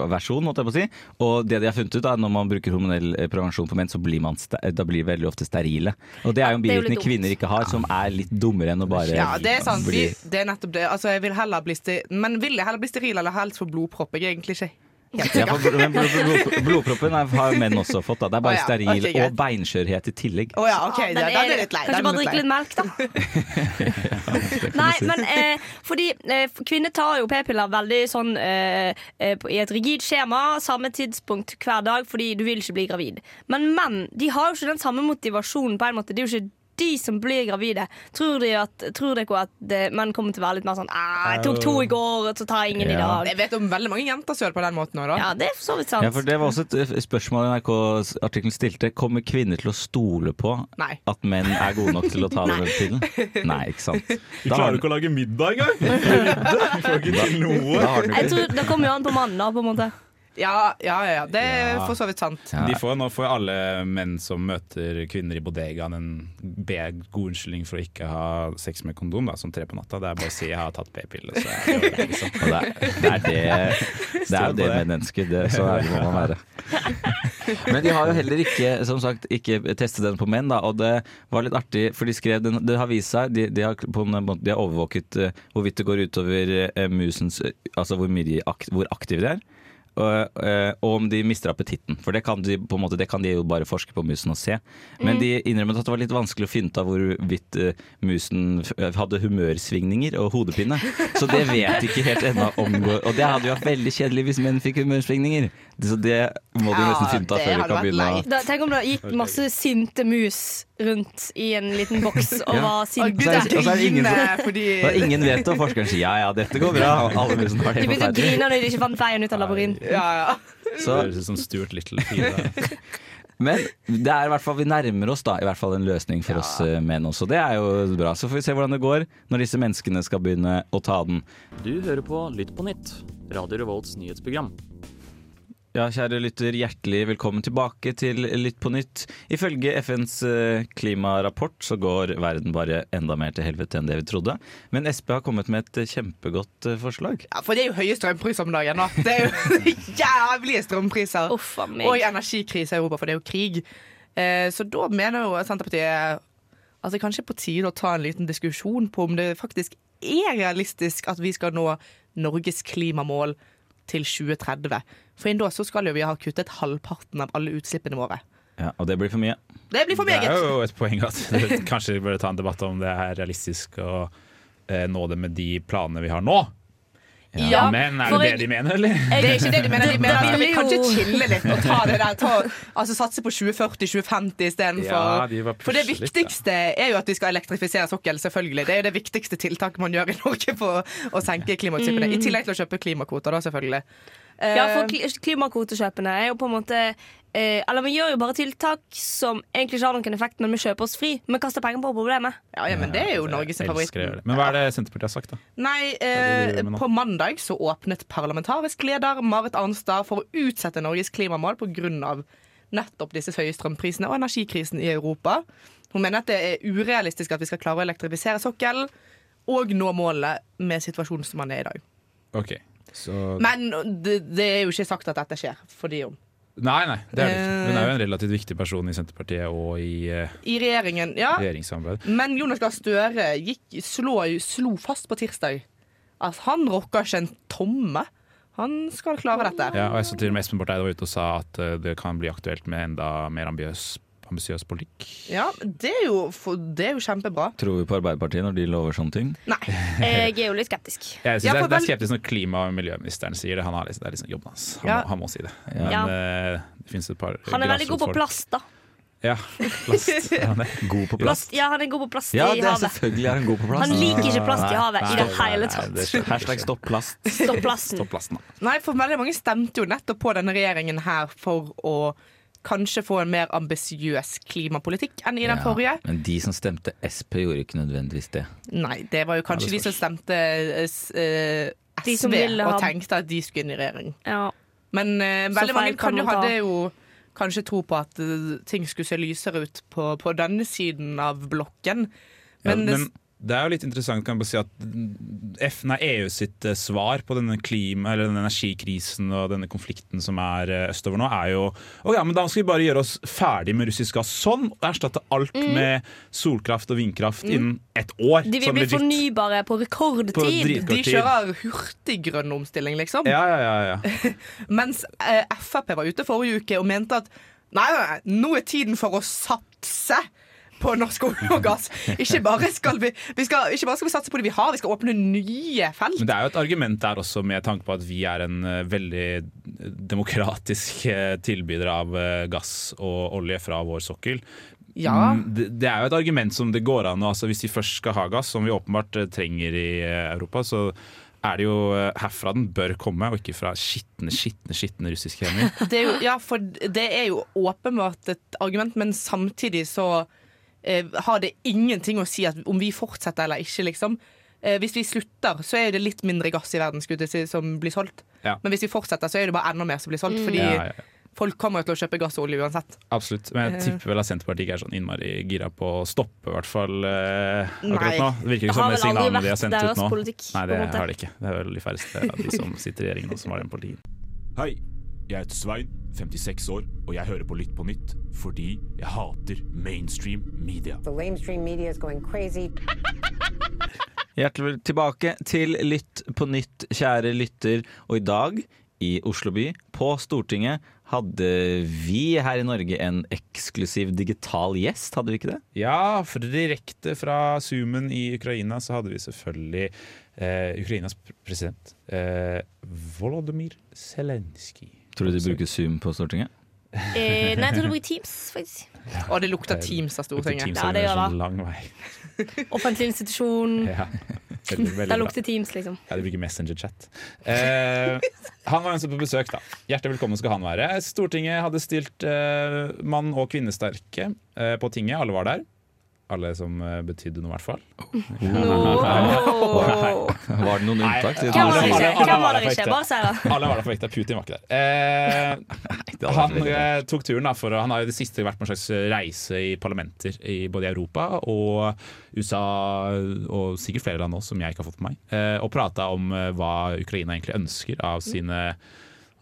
[SPEAKER 5] versjon, måtte jeg på å si. Og det de har funnet ut, er at når man bruker hormonell eh, prevensjon for menn, så blir man sta- eh, da blir veldig ofte sterile. Og det er jo en
[SPEAKER 1] Ja, det er jo litt
[SPEAKER 5] bivirkning
[SPEAKER 1] dumt.
[SPEAKER 5] kvinner ikke har, som er litt dummere enn å bare
[SPEAKER 7] Ja, det er sant. Vi,
[SPEAKER 5] bli
[SPEAKER 7] det er nettopp det. Altså, jeg vil heller bli sti Men vil jeg heller bli steril eller helst få blodpropp? Jeg er egentlig ikke helt
[SPEAKER 5] ja,
[SPEAKER 7] sikker.
[SPEAKER 5] for bl- men bl- bl- bl- Blodproppen er- har menn også fått. Da. Det er
[SPEAKER 7] Å
[SPEAKER 5] bare
[SPEAKER 7] ja,
[SPEAKER 5] steril
[SPEAKER 7] ok, greit.
[SPEAKER 5] og beinskjørhet i tillegg.
[SPEAKER 7] Å ja, OK.
[SPEAKER 1] Ja, den
[SPEAKER 7] den, den er litt lei.
[SPEAKER 1] Kanskje
[SPEAKER 7] Den
[SPEAKER 1] bare
[SPEAKER 7] er litt
[SPEAKER 1] drikke
[SPEAKER 7] lei.
[SPEAKER 1] litt melk, da.
[SPEAKER 7] [laughs]
[SPEAKER 1] Nei, men eh, fordi eh, kvinner tar jo p-piller veldig sånn eh, eh, på- i et rigid skjema, samme tidspunkt hver dag, fordi du vil ikke bli gravid. Men menn de har jo ikke den samme motivasjonen, på en måte. Det er jo ikke de som blir gravide. Tror de at, tror dere at eh, menn kommer til å være litt mer sånn «Ah, 'Jeg tok to i går, så tar jeg ingen
[SPEAKER 5] Ja.
[SPEAKER 1] i dag'.
[SPEAKER 7] Jeg vet om veldig mange jenter som gjør det på den måten òg, da.
[SPEAKER 1] Ja, det er for så vidt sant.
[SPEAKER 5] Ja, for Det var også et eh, spørsmål NRK-artikkelen stilte. Kommer kvinner til å stole på
[SPEAKER 7] Nei.
[SPEAKER 5] at menn er gode nok til å ta denne pillen? Nei, ikke sant. Da har,
[SPEAKER 6] å
[SPEAKER 1] [laughs]
[SPEAKER 6] lage middag engang! Vi får ikke til noe.
[SPEAKER 5] da har du
[SPEAKER 1] Jeg
[SPEAKER 5] ikke
[SPEAKER 1] tror Det kommer jo an på mannen, da, på en måte.
[SPEAKER 7] Ja, ja, ja. ja. Det er
[SPEAKER 6] Ja.
[SPEAKER 7] for så vidt sant.
[SPEAKER 5] Ja.
[SPEAKER 6] De får, nå får alle menn som møter kvinner i bodegaen en be- god unnskyldning for å ikke ha sex med kondom, da, som tre på natta. Det er bare å si 'jeg har tatt p-pille', så er det over, liksom.
[SPEAKER 5] Og det, er- det er det Det er jo
[SPEAKER 6] Stol på
[SPEAKER 5] det
[SPEAKER 6] det.
[SPEAKER 5] menn ønsker. Det, så ærlig må man være. Men de har jo heller ikke som sagt, ikke testet den på menn, da, og det var litt artig, for de skrev den, Det har vist seg De, de, har, på en måte, de har overvåket eh, hvorvidt det går utover eh, musens eh, Altså hvor, mye de ak hvor aktive de er. Og, eh, og om de mister appetitten. For det kan, de, på en måte, det kan de jo bare forske på musen og se. Men de innrømmet at det var litt vanskelig å finne ut av hvorvidt eh, musen f- eh, hadde humørsvingninger og hodepine. Så det vet de ikke helt ennå om går. Og det hadde jo vært veldig kjedelig hvis menn fikk humørsvingninger. Så det må de
[SPEAKER 7] Ja,
[SPEAKER 5] nesten finne ut av
[SPEAKER 7] det
[SPEAKER 5] før vi
[SPEAKER 7] hadde
[SPEAKER 5] kan
[SPEAKER 7] vært
[SPEAKER 5] begynne å
[SPEAKER 7] leit.
[SPEAKER 1] Da, tenk om det gikk masse sinte mus rundt i en liten
[SPEAKER 5] [laughs]
[SPEAKER 1] boks og var
[SPEAKER 5] Og så
[SPEAKER 1] sinte.
[SPEAKER 5] er det- og så er det ingen som-
[SPEAKER 7] Grine, fordi
[SPEAKER 5] Og ingen vet det, og forskeren sier ja ja, dette går bra. Og alle musen har
[SPEAKER 1] De
[SPEAKER 5] det
[SPEAKER 1] begynte å
[SPEAKER 5] forferdelig.
[SPEAKER 1] grine når de ikke fant veien ut av labyrinten.
[SPEAKER 7] Ja,
[SPEAKER 5] Så,
[SPEAKER 7] ja.
[SPEAKER 6] Det høres ut som Stuart Little.
[SPEAKER 1] [laughs]
[SPEAKER 6] Fida.
[SPEAKER 5] men det er i hvert fall, vi nærmer oss da i hvert fall en løsning for oss eh, menn også. Det er jo bra. Så får vi se hvordan det går når disse menneskene skal begynne å ta den.
[SPEAKER 9] Du hører på Lytt på nytt, Radio Revolts nyhetsprogram.
[SPEAKER 5] Ja, kjære lytter, hjertelig velkommen tilbake til Lytt på nytt. Ifølge FNs eh, klimarapport så går verden bare enda mer til helvete enn det vi trodde. Men SP har kommet med et eh, kjempegodt eh, forslag.
[SPEAKER 7] ja, for det er jo høye strømpriser om dagen. Da. Det er jo [laughs] jævlige strømpriser.
[SPEAKER 1] Uff a
[SPEAKER 7] Og
[SPEAKER 1] meg.
[SPEAKER 7] energikrise i Europa, for det er jo krig. Eh, så da mener jo Senterpartiet at det kanskje er på tide å ta en liten diskusjon på om det faktisk er realistisk at vi skal nå Norges klimamål til 2030. For innen da så skal jo vi ha kuttet halvparten av alle utslippene våre.
[SPEAKER 5] Ja, Og det blir for mye.
[SPEAKER 7] Det blir for
[SPEAKER 6] Det er
[SPEAKER 7] meget!
[SPEAKER 6] jo et poeng at [laughs] det, kanskje vi burde ta en debatt om det er realistisk å eh, nå det med de planene vi har nå.
[SPEAKER 1] Ja,
[SPEAKER 6] Men er
[SPEAKER 1] for
[SPEAKER 6] det det
[SPEAKER 1] jeg-
[SPEAKER 6] de mener, eller?
[SPEAKER 7] Det er ikke det de mener. De mener at vi
[SPEAKER 1] blir
[SPEAKER 7] kan ikke
[SPEAKER 1] jo-
[SPEAKER 7] chille litt og ta det der. Ta, altså satse på 2040-2050
[SPEAKER 6] Ja,
[SPEAKER 7] istedenfor.
[SPEAKER 6] de var
[SPEAKER 7] For det
[SPEAKER 6] pushe litt,
[SPEAKER 7] viktigste er jo at vi skal elektrifisere sokkelen, selvfølgelig. Det er jo det viktigste tiltaket man gjør i Norge for å senke klimautslippene. I tillegg til å kjøpe klimakvoter, da, selvfølgelig.
[SPEAKER 1] Ja, for kli- klimakvotekjøpene er jo på en måte eh, Eller vi gjør jo bare tiltak som egentlig ikke har noen effekt, men vi kjøper oss fri. Vi kaster penger på problemet.
[SPEAKER 7] Ja, ja, men det er jo Norges
[SPEAKER 6] altså, Jeg
[SPEAKER 7] favoritt.
[SPEAKER 6] elsker å gjøre det. Men hva er det Senterpartiet har sagt, da?
[SPEAKER 7] Nei,
[SPEAKER 6] er det de
[SPEAKER 7] eh,
[SPEAKER 6] gjør med nå.
[SPEAKER 7] på mandag så åpnet parlamentarisk leder Marit Arnstad for å utsette Norges klimamål pga. nettopp disse høye strømprisene og energikrisen i Europa. Hun mener at det er urealistisk at vi skal klare å elektrifisere sokkelen og nå målet med situasjonen som den er i dag.
[SPEAKER 6] Ok, så
[SPEAKER 7] Men det, det er jo ikke sagt at dette skjer, fordi om
[SPEAKER 6] Nei, nei, det er det ikke. Hun er jo
[SPEAKER 7] Eh.
[SPEAKER 6] en relativt viktig person i Senterpartiet og i eh,
[SPEAKER 7] I regjeringen, ja.
[SPEAKER 6] regjeringssamarbeid.
[SPEAKER 7] Men Jonas Gahr Støre gikk, slå, slo fast på tirsdag at han rocker ikke en tomme. Han skal klare dette.
[SPEAKER 6] Ja, og jeg så til og med Espen Barth Eide var ute og sa at eh, det kan bli aktuelt med enda mer ambisiøs ambisiøs politikk.
[SPEAKER 7] Ja, det er jo, for, det er jo kjempebra.
[SPEAKER 5] Tror vi på Arbeiderpartiet når de lover sånne ting?
[SPEAKER 1] [laughs]
[SPEAKER 7] Nei.
[SPEAKER 1] Jeg er jo litt skeptisk.
[SPEAKER 6] Jeg synes
[SPEAKER 7] Ja,
[SPEAKER 6] det, er, det
[SPEAKER 7] for
[SPEAKER 6] er
[SPEAKER 7] vel-
[SPEAKER 6] skeptisk når klima- og miljøministeren sier det. Han har liksom, det er liksom jobben hans. Han,
[SPEAKER 7] Ja.
[SPEAKER 6] må, han må si det. Men
[SPEAKER 1] Ja.
[SPEAKER 6] eh, det finnes et par
[SPEAKER 1] Han er veldig god på
[SPEAKER 6] grasrotfolk.
[SPEAKER 1] plast, da.
[SPEAKER 6] Ja,
[SPEAKER 7] [laughs]
[SPEAKER 6] plast. Ja, han er god på
[SPEAKER 1] Plast, ja, han er god på plast
[SPEAKER 5] Ja,
[SPEAKER 1] i
[SPEAKER 5] det er
[SPEAKER 1] havet.
[SPEAKER 5] selvfølgelig er han god på plass.
[SPEAKER 1] Han liker ikke plast i havet i det hele
[SPEAKER 6] Nei, det
[SPEAKER 1] tatt.
[SPEAKER 6] skjønner jeg
[SPEAKER 5] Hashtag
[SPEAKER 6] ikke.
[SPEAKER 5] stopp plast.
[SPEAKER 1] Stopp plasten.
[SPEAKER 6] Stopp plasten, da.
[SPEAKER 7] Nei, for veldig mange stemte jo nettopp på denne regjeringen her for å kanskje få en mer ambisiøs klimapolitikk enn i den forrige.
[SPEAKER 5] men de som stemte SP, gjorde ikke nødvendigvis det.
[SPEAKER 7] Nei, det var jo kanskje de som stemte eh, s- eh, SV
[SPEAKER 1] De som ville ha-
[SPEAKER 7] og tenkte at de skulle inn i regjering.
[SPEAKER 1] Ja.
[SPEAKER 7] Men eh,
[SPEAKER 1] Så
[SPEAKER 7] veldig mange
[SPEAKER 1] feil kan
[SPEAKER 7] kan jo,
[SPEAKER 1] man ta.
[SPEAKER 7] hadde jo kanskje tro på at eh, ting skulle se lysere ut på, på denne siden av blokken.
[SPEAKER 6] Ja,
[SPEAKER 7] Men,
[SPEAKER 6] men det er jo litt interessant kan jeg bare si at F, nei, EU sitt eh, svar på denne klima, eller denne energikrisen og denne konflikten som er eh, østover nå, er jo Å ja, men da skal vi bare gjøre oss ferdig med russisk gass sånn, og erstatte alt med solkraft og vindkraft innen ett
[SPEAKER 1] Mm.
[SPEAKER 6] år.
[SPEAKER 1] De vil
[SPEAKER 6] sånn
[SPEAKER 1] bli
[SPEAKER 6] legit.
[SPEAKER 1] fornybare på
[SPEAKER 6] På
[SPEAKER 1] rekordtid.
[SPEAKER 6] drit-
[SPEAKER 7] de kjører hurtiggrønn omstilling, liksom.
[SPEAKER 6] Ja, ja, ja, ja.
[SPEAKER 7] Mens eh, Frp var ute forrige uke og mente at nei, nei, nei, nå er tiden for å satse på norsk olje og
[SPEAKER 6] [laughs]
[SPEAKER 7] gass. Ikke bare skal vi, vi skal, ikke bare skal vi satse på det vi har, vi skal åpne nye felt.
[SPEAKER 6] Men det er jo et argument der også med tanke på at vi er en eh, veldig demokratisk eh, tilbyder av eh, gass og olje fra vår sokkel.
[SPEAKER 7] Ja.
[SPEAKER 6] Mm, Det, det er jo et argument som det går an å altså Hvis vi først skal ha gass, som vi åpenbart eh, trenger i eh, Europa, så er det jo eh, herfra den bør komme, og ikke fra skitne, skitne, skitne
[SPEAKER 1] [laughs]
[SPEAKER 6] russiske hender.
[SPEAKER 7] Det er jo, ja, for det er jo åpenbart et argument, men samtidig så eh, har det ingenting å si at om vi fortsetter eller ikke, liksom. eh, hvis vi slutter, så er det litt mindre gass i verden skulle jeg til å si, som blir solgt.
[SPEAKER 6] Ja.
[SPEAKER 7] Men hvis vi fortsetter, så er det bare enda mer som blir solgt. Fordi
[SPEAKER 6] Ja, ja,
[SPEAKER 7] folk kommer jo til å kjøpe gass og olje uansett.
[SPEAKER 6] absolutt. Men jeg
[SPEAKER 7] Eh.
[SPEAKER 6] tipper vel at Senterpartiet ikke er sånn innmari gira på å stoppe, i hvert fall eh,
[SPEAKER 7] Nei.
[SPEAKER 6] akkurat nå. Det virker
[SPEAKER 1] Det
[SPEAKER 6] ikke som
[SPEAKER 1] har vel aldri
[SPEAKER 6] med signalene de har
[SPEAKER 1] vært
[SPEAKER 6] sendt
[SPEAKER 1] deres
[SPEAKER 6] ut nå.
[SPEAKER 1] politikk,
[SPEAKER 6] Nei,
[SPEAKER 1] på
[SPEAKER 6] det
[SPEAKER 1] en måte.
[SPEAKER 6] har de ikke. Det er vel de færreste av de som sitter i regjeringen nå, som har den politikken.
[SPEAKER 10] Hei, jeg heter Svein, 56 år, og jeg hører på Lytt på nytt fordi jeg hater mainstream media.
[SPEAKER 5] Hjertelig vel- tilbake til Lytt på nytt, kjære lytter. Og i dag, i Oslo by, på Stortinget, hadde vi her i Norge en eksklusiv digital gjest, hadde vi ikke det?
[SPEAKER 6] Ja, for direkte fra Zoomen i Ukraina så hadde vi selvfølgelig eh, Ukrainas pr- president eh, Volodymyr Zelenskyj.
[SPEAKER 5] Tror du de bruker Zoom på Stortinget?
[SPEAKER 1] Eh, nei, jeg tror det blir Teams, faktisk.
[SPEAKER 7] Og det lukter Teams av Stortinget.
[SPEAKER 1] Ja, det gjør det.
[SPEAKER 6] sånn Lang vei. [laughs]
[SPEAKER 1] Offentlig institusjon.
[SPEAKER 6] Ja,
[SPEAKER 1] [laughs]
[SPEAKER 6] veldig, veldig
[SPEAKER 1] Der
[SPEAKER 6] bra.
[SPEAKER 1] lukter Teams,
[SPEAKER 6] [laughs]
[SPEAKER 1] liksom.
[SPEAKER 6] Ja, de bruker Messenger-chat. Eh, han var altså på besøk, da. Hjertelig velkommen skal han være. Stortinget hadde stilt eh, mann- og kvinnesterke eh, på tinget. Alle var der. Alle som eh, betydde noe, i hvert fall.
[SPEAKER 1] Åh.
[SPEAKER 5] [laughs] Var det noen unntak? siden
[SPEAKER 1] Hvem
[SPEAKER 5] du
[SPEAKER 1] var det
[SPEAKER 5] sier-
[SPEAKER 1] ikke? Hvem var det
[SPEAKER 6] Alle-
[SPEAKER 1] ikke? Bare si det.
[SPEAKER 6] Alle var der for ekte. Putin var ikke der. Eh,
[SPEAKER 5] Det hadde vært
[SPEAKER 6] Han
[SPEAKER 5] veldig bra.
[SPEAKER 6] eh, tok turen da, for å, Han har i det siste vært på en slags reise i parlamenter i både Europa og USA, og sikkert flere land også, som jeg ikke har fått med meg, eh, og prata om eh, hva Ukraina egentlig ønsker av sine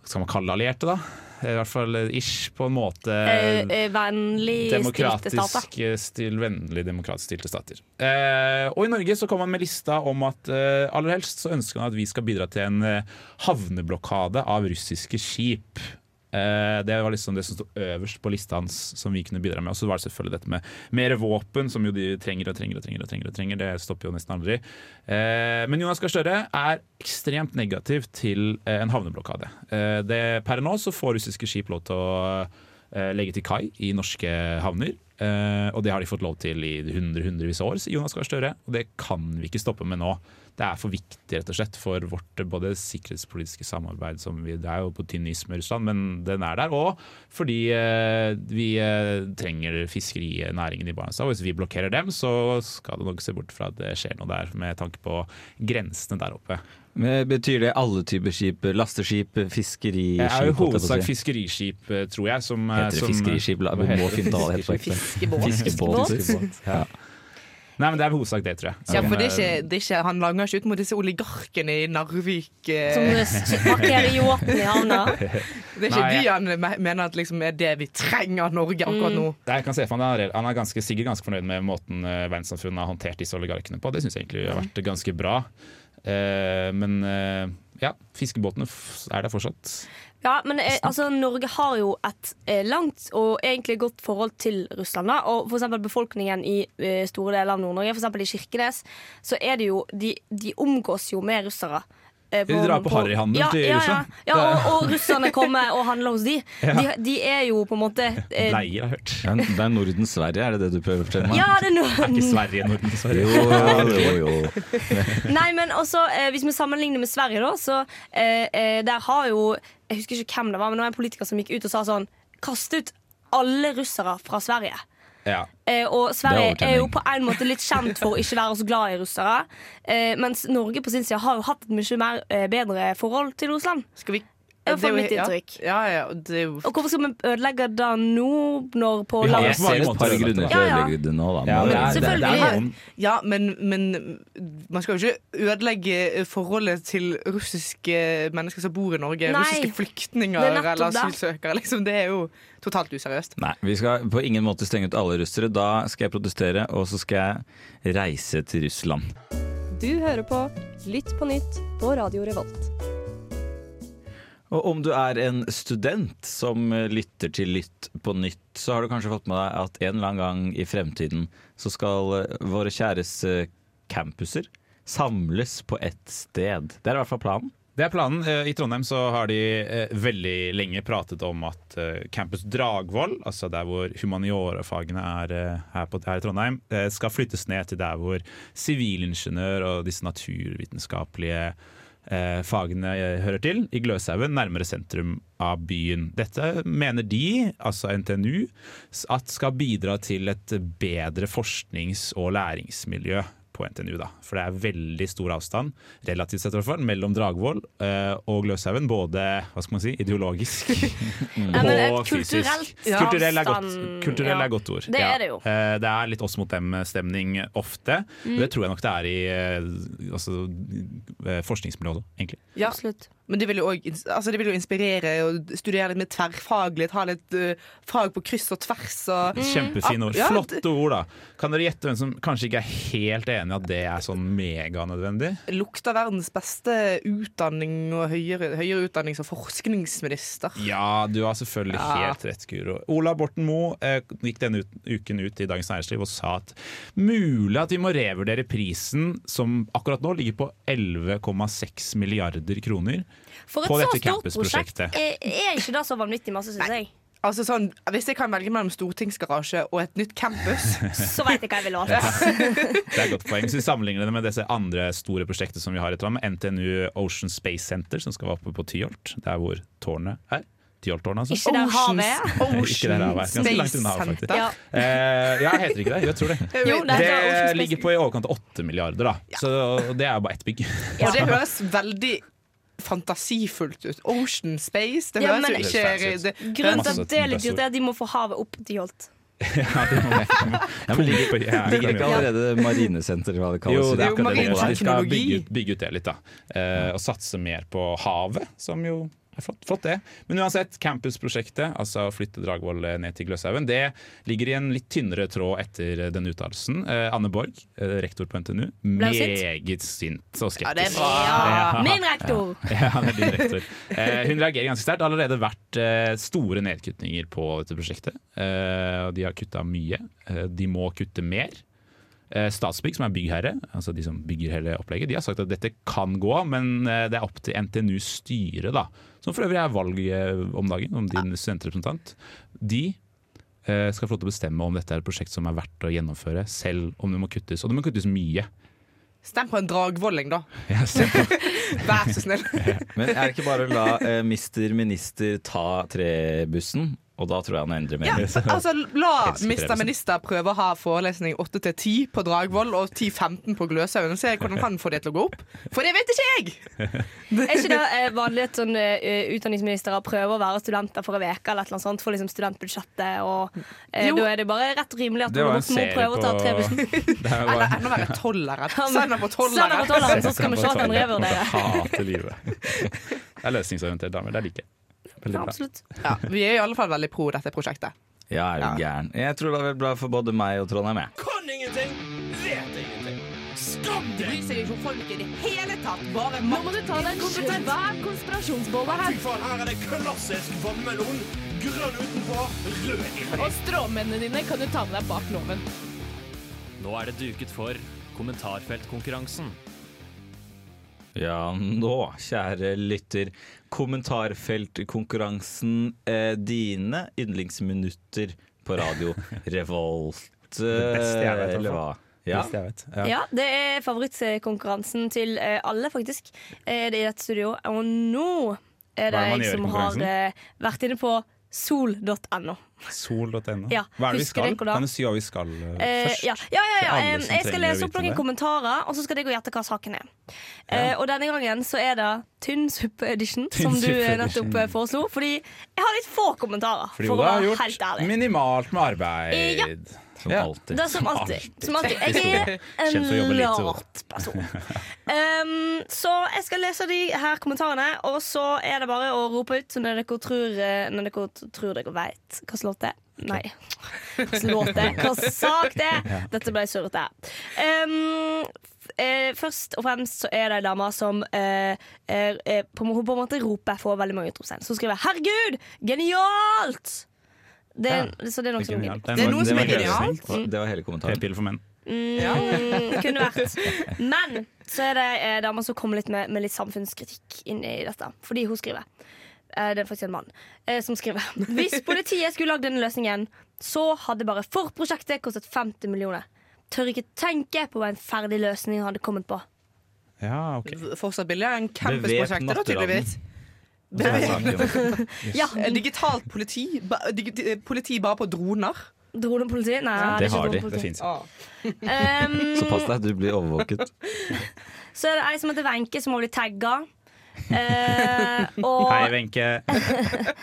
[SPEAKER 6] skal man kalle det allierte, da? I hvert fall eh, ish, på en måte
[SPEAKER 1] Eh, eh, Vennlig stilte stater.
[SPEAKER 6] demokratisk eh, stil, vennlig demokratisk stilte stater. Eh, og i Norge så kom han med lista om at eh, aller helst så ønsker han at vi skal bidra til en eh, havneblokade av russiske skip. Eh, det var liksom det som sto øverst på lista hans som vi kunne bidra med. Og så var det selvfølgelig dette med mer våpen, som jo de trenger og trenger og trenger. og trenger, og trenger. Det stopper jo nesten aldri. Eh, men Jonas Gahr Støre er ekstremt negativ til eh, en havneblokade. Eh, det, per nå så får russiske skip lov til å eh, legge til kai i norske havner. Eh, og det har de fått lov til i hundre, hundrevis av år, sier Jonas Gahr Støre. Og det kan vi ikke stoppe med nå. Det er for viktig rett og slett for vårt eh, både sikkerhetspolitiske samarbeid som vi, Det er jo på tynn is med Russland, men den er der. Og fordi eh, vi eh, trenger fiskerinæringen i Barentshavet. Hvis vi blokkerer dem, så skal du nok se bort fra at det skjer noe der med tanke på grensene der oppe.
[SPEAKER 5] Men Betyr det alle typer skip? Lasteskip, fiskeriskip?
[SPEAKER 6] Det Eh, er jo
[SPEAKER 5] holdt jeg på å
[SPEAKER 6] hovedsak
[SPEAKER 5] si.
[SPEAKER 6] fiskeriskip, eh, tror jeg, som eh,
[SPEAKER 5] Heter det
[SPEAKER 6] som-
[SPEAKER 5] fiskeriskip? La-
[SPEAKER 6] Hva
[SPEAKER 5] Vi
[SPEAKER 6] heter
[SPEAKER 5] må
[SPEAKER 6] det?
[SPEAKER 5] finne ut hva det heter på ekte.
[SPEAKER 7] Fiskebåt.
[SPEAKER 5] Fiskebåt. Fiskebåt. Ja.
[SPEAKER 6] Nei, men det er hovedsak det, tror jeg. Eh,
[SPEAKER 7] Ja, for det er ikke, det er ikke, Han langer ikke ut mot disse oligarkene i Narvik. eh,
[SPEAKER 1] Som s- parkerer yachten i havna.
[SPEAKER 7] Det er ikke
[SPEAKER 6] Nei,
[SPEAKER 7] de han me- mener at liksom er det vi trenger av Norge akkurat nå.
[SPEAKER 6] Nei, jeg kan se for meg Han er, han er ganske, sikkert ganske fornøyd med måten eh, verdenssamfunnet har håndtert disse oligarkene på. Det syns jeg egentlig har vært ganske bra. Eh, men eh, ja, fiskebåtene f- er der fortsatt.
[SPEAKER 1] Ja, men eh, altså, Norge har jo et eh, langt og egentlig godt forhold til Russland. Da. Og for eksempel befolkningen i eh, store deler av Nord-Norge, for eksempel i Kirkenes, så er det jo De, de omgås jo med russere. eh,
[SPEAKER 6] De drar på harryhandel
[SPEAKER 1] ja,
[SPEAKER 6] til
[SPEAKER 1] ja,
[SPEAKER 6] Russland.
[SPEAKER 1] Ja, ja og, og russerne kommer og handler hos de.
[SPEAKER 6] [laughs]
[SPEAKER 1] De, de er jo på en måte eh,
[SPEAKER 6] Leier, har jeg hørt.
[SPEAKER 5] Det er- Det er Norden-Sverige, er det det du prøver å fortelle meg?
[SPEAKER 1] Ja, det er
[SPEAKER 6] Er ikke
[SPEAKER 1] noe
[SPEAKER 6] [laughs] Sverige Norden, Sverige?
[SPEAKER 5] Jo, jo, jo.
[SPEAKER 1] [laughs] Nei, men også eh, Hvis vi sammenligner med Sverige, da, så eh, eh, der har jo Jeg husker ikke hvem det var, men det var en politiker som gikk ut og sa sånn Kast ut alle russere fra Sverige.
[SPEAKER 6] Ja.
[SPEAKER 1] Eh, og Sverige
[SPEAKER 5] Det er
[SPEAKER 1] er, jo på en måte litt kjent for å ikke være så glad i russere. Eh, mens Norge på sin side har jo hatt et mye mer, eh, bedre forhold til Russland.
[SPEAKER 7] Skal vi
[SPEAKER 1] Det er i hvert fall
[SPEAKER 7] jo-
[SPEAKER 1] mitt inntrykk.
[SPEAKER 7] Ja, ja, ja, det er jo
[SPEAKER 1] Og hvorfor skal vi ødelegge det nå, når på
[SPEAKER 6] Vi har
[SPEAKER 5] Jeg
[SPEAKER 1] langs
[SPEAKER 6] på
[SPEAKER 5] ser
[SPEAKER 6] mange
[SPEAKER 5] et
[SPEAKER 6] måter
[SPEAKER 5] par
[SPEAKER 6] ødelagt
[SPEAKER 5] grunner
[SPEAKER 1] det.
[SPEAKER 5] til å
[SPEAKER 1] Ja, ja.
[SPEAKER 5] ødelegge det nå, da.
[SPEAKER 6] Ja,
[SPEAKER 5] men
[SPEAKER 6] men
[SPEAKER 5] det er- det
[SPEAKER 1] selvfølgelig.
[SPEAKER 5] er-
[SPEAKER 7] Ja, men, men man skal jo ikke ødelegge forholdet til russiske mennesker som bor i Norge.
[SPEAKER 1] Nei.
[SPEAKER 7] Russiske flyktninger
[SPEAKER 1] Det er nettopp
[SPEAKER 7] eller
[SPEAKER 1] det.
[SPEAKER 7] asylsøkere. Liksom, det er jo totalt useriøst.
[SPEAKER 5] Nei, vi skal på ingen måte stenge ut alle russere. Da skal jeg protestere, og så skal jeg reise til Russland.
[SPEAKER 11] Du hører på Lytt på nytt på Radio Revolt.
[SPEAKER 5] Og om du er en student som eh, lytter til Lytt på nytt, så har du kanskje fått med deg at en eller annen gang i fremtiden så skal eh, våre kjæres eh, campuser samles på ett sted. Det er i hvert fall planen.
[SPEAKER 6] Det er planen. Eh, I Trondheim så har de eh, veldig lenge pratet om at eh, Campus Dragvoll, altså der hvor humaniorafagene er eh, her, på, her i Trondheim, eh, skal flyttes ned til der hvor sivilingeniør og disse naturvitenskapelige eh, fagene eh, hører til, i Gløshaugen, nærmere sentrum av byen. Dette mener de, altså NTNU, s- at skal bidra til et bedre forsknings- og læringsmiljø på NTNU. da. For det er veldig stor avstand, relativt sett i hvert fall, mellom Dragvoll eh, og Gløshaugen. Både hva skal man si,
[SPEAKER 1] [laughs]
[SPEAKER 6] ideologisk
[SPEAKER 1] Ja, men et
[SPEAKER 6] og fysisk.
[SPEAKER 1] kulturelt
[SPEAKER 6] Kulturell er godt,
[SPEAKER 1] avstand,
[SPEAKER 6] kulturell
[SPEAKER 1] ja.
[SPEAKER 6] er godt ord.
[SPEAKER 1] Det er det jo.
[SPEAKER 6] Eh, Det er litt oss mot dem-stemning ofte.
[SPEAKER 1] Mm.
[SPEAKER 6] Og det tror jeg nok det er i eh, altså, eh, forskningsmiljøet også, egentlig.
[SPEAKER 7] Ja.
[SPEAKER 1] Absolutt.
[SPEAKER 7] Men det vil, jo også, ins- altså det vil jo inspirere og studere litt mer tverrfaglig. Ta litt eh, fag på kryss og tvers. Og,
[SPEAKER 1] Mm.
[SPEAKER 6] Mm. Kjempefine ord.
[SPEAKER 7] Ja,
[SPEAKER 6] Flotte ord, da. Kan dere gjette hvem som kanskje ikke er helt enig i at det er sånn meganødvendig?
[SPEAKER 7] det Lukter verdens beste utdanning og høyere, høyere utdannings- og forskningsminister.
[SPEAKER 6] Ja, du har selvfølgelig
[SPEAKER 7] Ja.
[SPEAKER 6] helt rett, Guro. Ola Borten Moe eh, gikk denne ut, uken ut i Dagens Næringsliv og sa at mulig at vi må revurdere prisen, som akkurat nå ligger på 11,6 milliarder kroner,
[SPEAKER 1] For et
[SPEAKER 6] på
[SPEAKER 1] så
[SPEAKER 6] dette
[SPEAKER 1] stort prosjekt
[SPEAKER 6] campusprosjektet.
[SPEAKER 1] er, er ikke det så vanvittig masse, syns jeg.
[SPEAKER 7] Altså sånn, Hvis jeg kan velge mellom stortingsgarasje og et nytt
[SPEAKER 6] [laughs]
[SPEAKER 7] campus
[SPEAKER 1] Så veit jeg hva jeg ville valgt.
[SPEAKER 6] Det er et godt poeng. Så vi sammenligner det med disse andre store prosjektene som vi har i Trondheim. NTNU Ocean Space Center, som skal være oppe på Tyholt. Der hvor tårnet er.
[SPEAKER 1] [laughs]
[SPEAKER 6] Tyholttårnet, altså.
[SPEAKER 1] Ikke der havet er.
[SPEAKER 6] Ikke der havet er. Ganske langt unna havet, faktisk.
[SPEAKER 1] Ja.
[SPEAKER 6] Eh, ja, heter ikke det? Jeg tror det. Eh,
[SPEAKER 1] Jo, det er Ocean Space.
[SPEAKER 6] ligger på i overkant av åtte milliarder, da. Så og det er jo bare ett bygg.
[SPEAKER 7] Og det høres veldig fantasifullt ut. Ocean space. Det
[SPEAKER 1] Ja,
[SPEAKER 7] høres
[SPEAKER 1] men-
[SPEAKER 7] jo
[SPEAKER 6] Det høres
[SPEAKER 7] ikke
[SPEAKER 6] fancy ut.
[SPEAKER 7] det,
[SPEAKER 1] Grunnen til
[SPEAKER 6] Masse altså.
[SPEAKER 1] at det er litt
[SPEAKER 6] bøsser.
[SPEAKER 1] dyrt, er at de må få havet opp til Holt.
[SPEAKER 6] Ja, det må jeg-
[SPEAKER 5] Ja, men ligger,
[SPEAKER 6] Pumpe- ja, jeg
[SPEAKER 5] ligger ikke
[SPEAKER 6] kan gjøre det.
[SPEAKER 5] allerede marinesenter, hva det kalles?
[SPEAKER 6] Jo, det er
[SPEAKER 7] jo
[SPEAKER 6] akkurat det.
[SPEAKER 7] marin
[SPEAKER 6] det. Vi skal
[SPEAKER 7] teknologi.
[SPEAKER 6] bygge ut, bygge ut det litt, da. Eh, og satse mer på havet, som jo er flott, flott det. Men uansett, campusprosjektet, altså å flytte Dragvoll ned til Gløshaugen, det ligger i en litt tynnere tråd etter den uttalelsen. Eh, Anne Borg, eh, rektor på NTNU,
[SPEAKER 1] hun sint?
[SPEAKER 6] meget sint og skeptisk.
[SPEAKER 7] ja, det er bra.
[SPEAKER 1] Ja. Min rektor!
[SPEAKER 6] [laughs] Ja, han er din rektor. Eh, hun reagerer ganske sterkt. Det har allerede vært eh, store nedkutninger på dette prosjektet. Eh, og de har kutta mye. Eh, de må kutte mer. Eh, Statsbygg, som er byggherre, altså de som bygger hele opplegget, de har sagt at dette kan gå, men eh, det er opp til NTNUs styre, da, som for øvrig er valg eh, om dagen, om din studentrepresentant. De eh, skal få lov til å bestemme om dette er et prosjekt som er verdt å gjennomføre, selv om det må kuttes. Og det må kuttes mye.
[SPEAKER 7] Stem på en dragvolling, da.
[SPEAKER 6] Ja, selv
[SPEAKER 7] [laughs] Vær så snill.
[SPEAKER 5] Men er det ikke bare å la eh, mister minister ta trebussen? Og da tror jeg han endrer
[SPEAKER 7] Ja,
[SPEAKER 5] mening.
[SPEAKER 7] altså La
[SPEAKER 6] Elsker
[SPEAKER 7] Mr.
[SPEAKER 6] Preben.
[SPEAKER 7] Minister prøve å ha forelesning 8-10 på Dragvoll og 10-15 på Gløshaugen. og Se hvordan han får det til å gå opp. For det vet ikke jeg!
[SPEAKER 1] Er ikke det eh, vanlig at sånn, eh, utdanningsministre prøver å være studenter for en uke eller et eller annet sånt, for liksom studentbudsjettet, og eh,
[SPEAKER 7] Jo.
[SPEAKER 1] da er det bare rett og rimelig at
[SPEAKER 6] Det var
[SPEAKER 1] man
[SPEAKER 6] en
[SPEAKER 1] må må
[SPEAKER 6] serie
[SPEAKER 1] prøve å ta
[SPEAKER 6] på- [laughs]
[SPEAKER 1] trebussen.
[SPEAKER 6] [laughs] Det er jo
[SPEAKER 7] Eller
[SPEAKER 6] bare
[SPEAKER 7] enda verre tollere.
[SPEAKER 1] Ja, men-
[SPEAKER 7] Send ham på
[SPEAKER 1] Send ham på
[SPEAKER 7] tollere.
[SPEAKER 1] tolleren, så skal vi se at han revurderer.
[SPEAKER 6] Hater
[SPEAKER 7] [laughs]
[SPEAKER 6] livet. Det er løsningsorientert damer. Det liker jeg. Veldig
[SPEAKER 1] Ja,
[SPEAKER 6] bra.
[SPEAKER 1] absolutt.
[SPEAKER 7] Ja, vi er i alle fall veldig pro dette prosjektet.
[SPEAKER 5] Ja, er du gæren. Jeg tror det er vel bra for både meg og Trondheim, jeg.
[SPEAKER 4] Kan ingenting, vet ingenting. Skam deg!
[SPEAKER 7] Bryr seg ikke om folk i det hele tatt. Bare
[SPEAKER 11] Nå må du ta deg en svær konspirasjonsbolle
[SPEAKER 4] Fy faen, her er det klassisk vannmelon. Grønn utenpå, rød inni.
[SPEAKER 11] Og stråmennene dine kan du ta med deg bak loven.
[SPEAKER 9] Nå er det duket for kommentarfeltkonkurransen.
[SPEAKER 5] Ja, nå, kjære lytter. Kommentarfeltkonkurransen. Eh, dine yndlingsminutter på
[SPEAKER 6] [laughs]
[SPEAKER 5] radio Revolt. Det
[SPEAKER 6] beste jeg vet, i hvert fall.
[SPEAKER 5] Eller hva? Ja.
[SPEAKER 6] Beste jeg vet. Ja.
[SPEAKER 1] Ja, det er favorittkonkurransen til eh, alle, faktisk, eh, det er i dette studio. Og nå er det
[SPEAKER 6] Hva er det man
[SPEAKER 1] jeg
[SPEAKER 6] gjør i
[SPEAKER 1] som har
[SPEAKER 6] konkurransen?
[SPEAKER 1] eh, vært inne på sol.no.
[SPEAKER 6] Sol.no.
[SPEAKER 1] Ja,
[SPEAKER 6] Hva er det vi
[SPEAKER 1] husker
[SPEAKER 6] skal?
[SPEAKER 1] dere da?
[SPEAKER 6] Kan du si hva vi skal eh,
[SPEAKER 1] Eh,
[SPEAKER 6] først?
[SPEAKER 1] ja, ja, ja, ja. eh,
[SPEAKER 6] Til alle som
[SPEAKER 1] Jeg skal
[SPEAKER 6] trenger å
[SPEAKER 1] lese opp
[SPEAKER 6] vite
[SPEAKER 1] noen
[SPEAKER 6] det.
[SPEAKER 1] kommentarer, og så skal dere gå og gjette hva saken er. Eh, og denne gangen så er det tynn suppe-edition, som du eh, nettopp eh, foreslo. Fordi jeg har litt få kommentarer,
[SPEAKER 6] Fordi
[SPEAKER 1] for å
[SPEAKER 6] Oda har
[SPEAKER 1] være helt
[SPEAKER 6] gjort
[SPEAKER 1] ærlig.
[SPEAKER 6] minimalt med arbeid.
[SPEAKER 1] Eh, ja.
[SPEAKER 5] Som
[SPEAKER 6] Ja.
[SPEAKER 5] alltid.
[SPEAKER 1] Det er som alltid. Som alltid. Jeg er
[SPEAKER 6] Kjent for å
[SPEAKER 1] en
[SPEAKER 6] jobbe lite, Oda.
[SPEAKER 1] lat person. Um, så jeg skal lese de her kommentarene, og så er det bare å rope ut når dere tror, eh, når dere, t- tror dere vet hva slags låt det er. Nei. Hva slags låt det er? Hva sak det er? Dette ble surrete. Um, f- eh, først og fremst så er det ei dame som eh, er, er, på, hun på en måte roper for veldig mange utropstegn. Så skriver jeg 'Herregud! Genialt!' Det, er- Så det er noe som
[SPEAKER 6] Genialt.
[SPEAKER 7] Det er
[SPEAKER 6] var-
[SPEAKER 7] noe som
[SPEAKER 6] var
[SPEAKER 7] er
[SPEAKER 6] gøy.
[SPEAKER 7] genialt.
[SPEAKER 5] Det var hele kommentaren.
[SPEAKER 6] P-piller for menn.
[SPEAKER 1] Mm, kunne
[SPEAKER 5] [laughs]
[SPEAKER 1] vært. Men så er det eh, dama som kommer litt med, med litt samfunnskritikk inn i dette. Fordi hun skriver. Eh, det er faktisk en mann eh, som skriver. Hvis politiet skulle lagd denne løsningen, så hadde bare forprosjektet kostet 50 millioner. Tør ikke tenke på hva en ferdig løsning hadde kommet på.
[SPEAKER 6] Ja, ok.
[SPEAKER 7] Fortsatt billigere enn
[SPEAKER 5] Bevep
[SPEAKER 7] campusprosjektet, da,
[SPEAKER 5] natteravn.
[SPEAKER 7] tydeligvis.
[SPEAKER 5] Det var saken.
[SPEAKER 1] Ja,
[SPEAKER 5] Eh,
[SPEAKER 7] Eh, Digitalt politi. Ba, digi, eh, politi bare på droner.
[SPEAKER 1] Dronepoliti? Nei,
[SPEAKER 5] Det har de. Det
[SPEAKER 1] fins
[SPEAKER 5] finnes
[SPEAKER 1] ikke.
[SPEAKER 5] ikke.
[SPEAKER 1] dronepoliti.
[SPEAKER 6] Mm.
[SPEAKER 5] Så pass deg, du blir overvåket.
[SPEAKER 1] Um, så er det ei som heter Wenche, som har blitt tagga.
[SPEAKER 5] [laughs]
[SPEAKER 3] Hei,
[SPEAKER 1] Eh, og,
[SPEAKER 3] Wenche.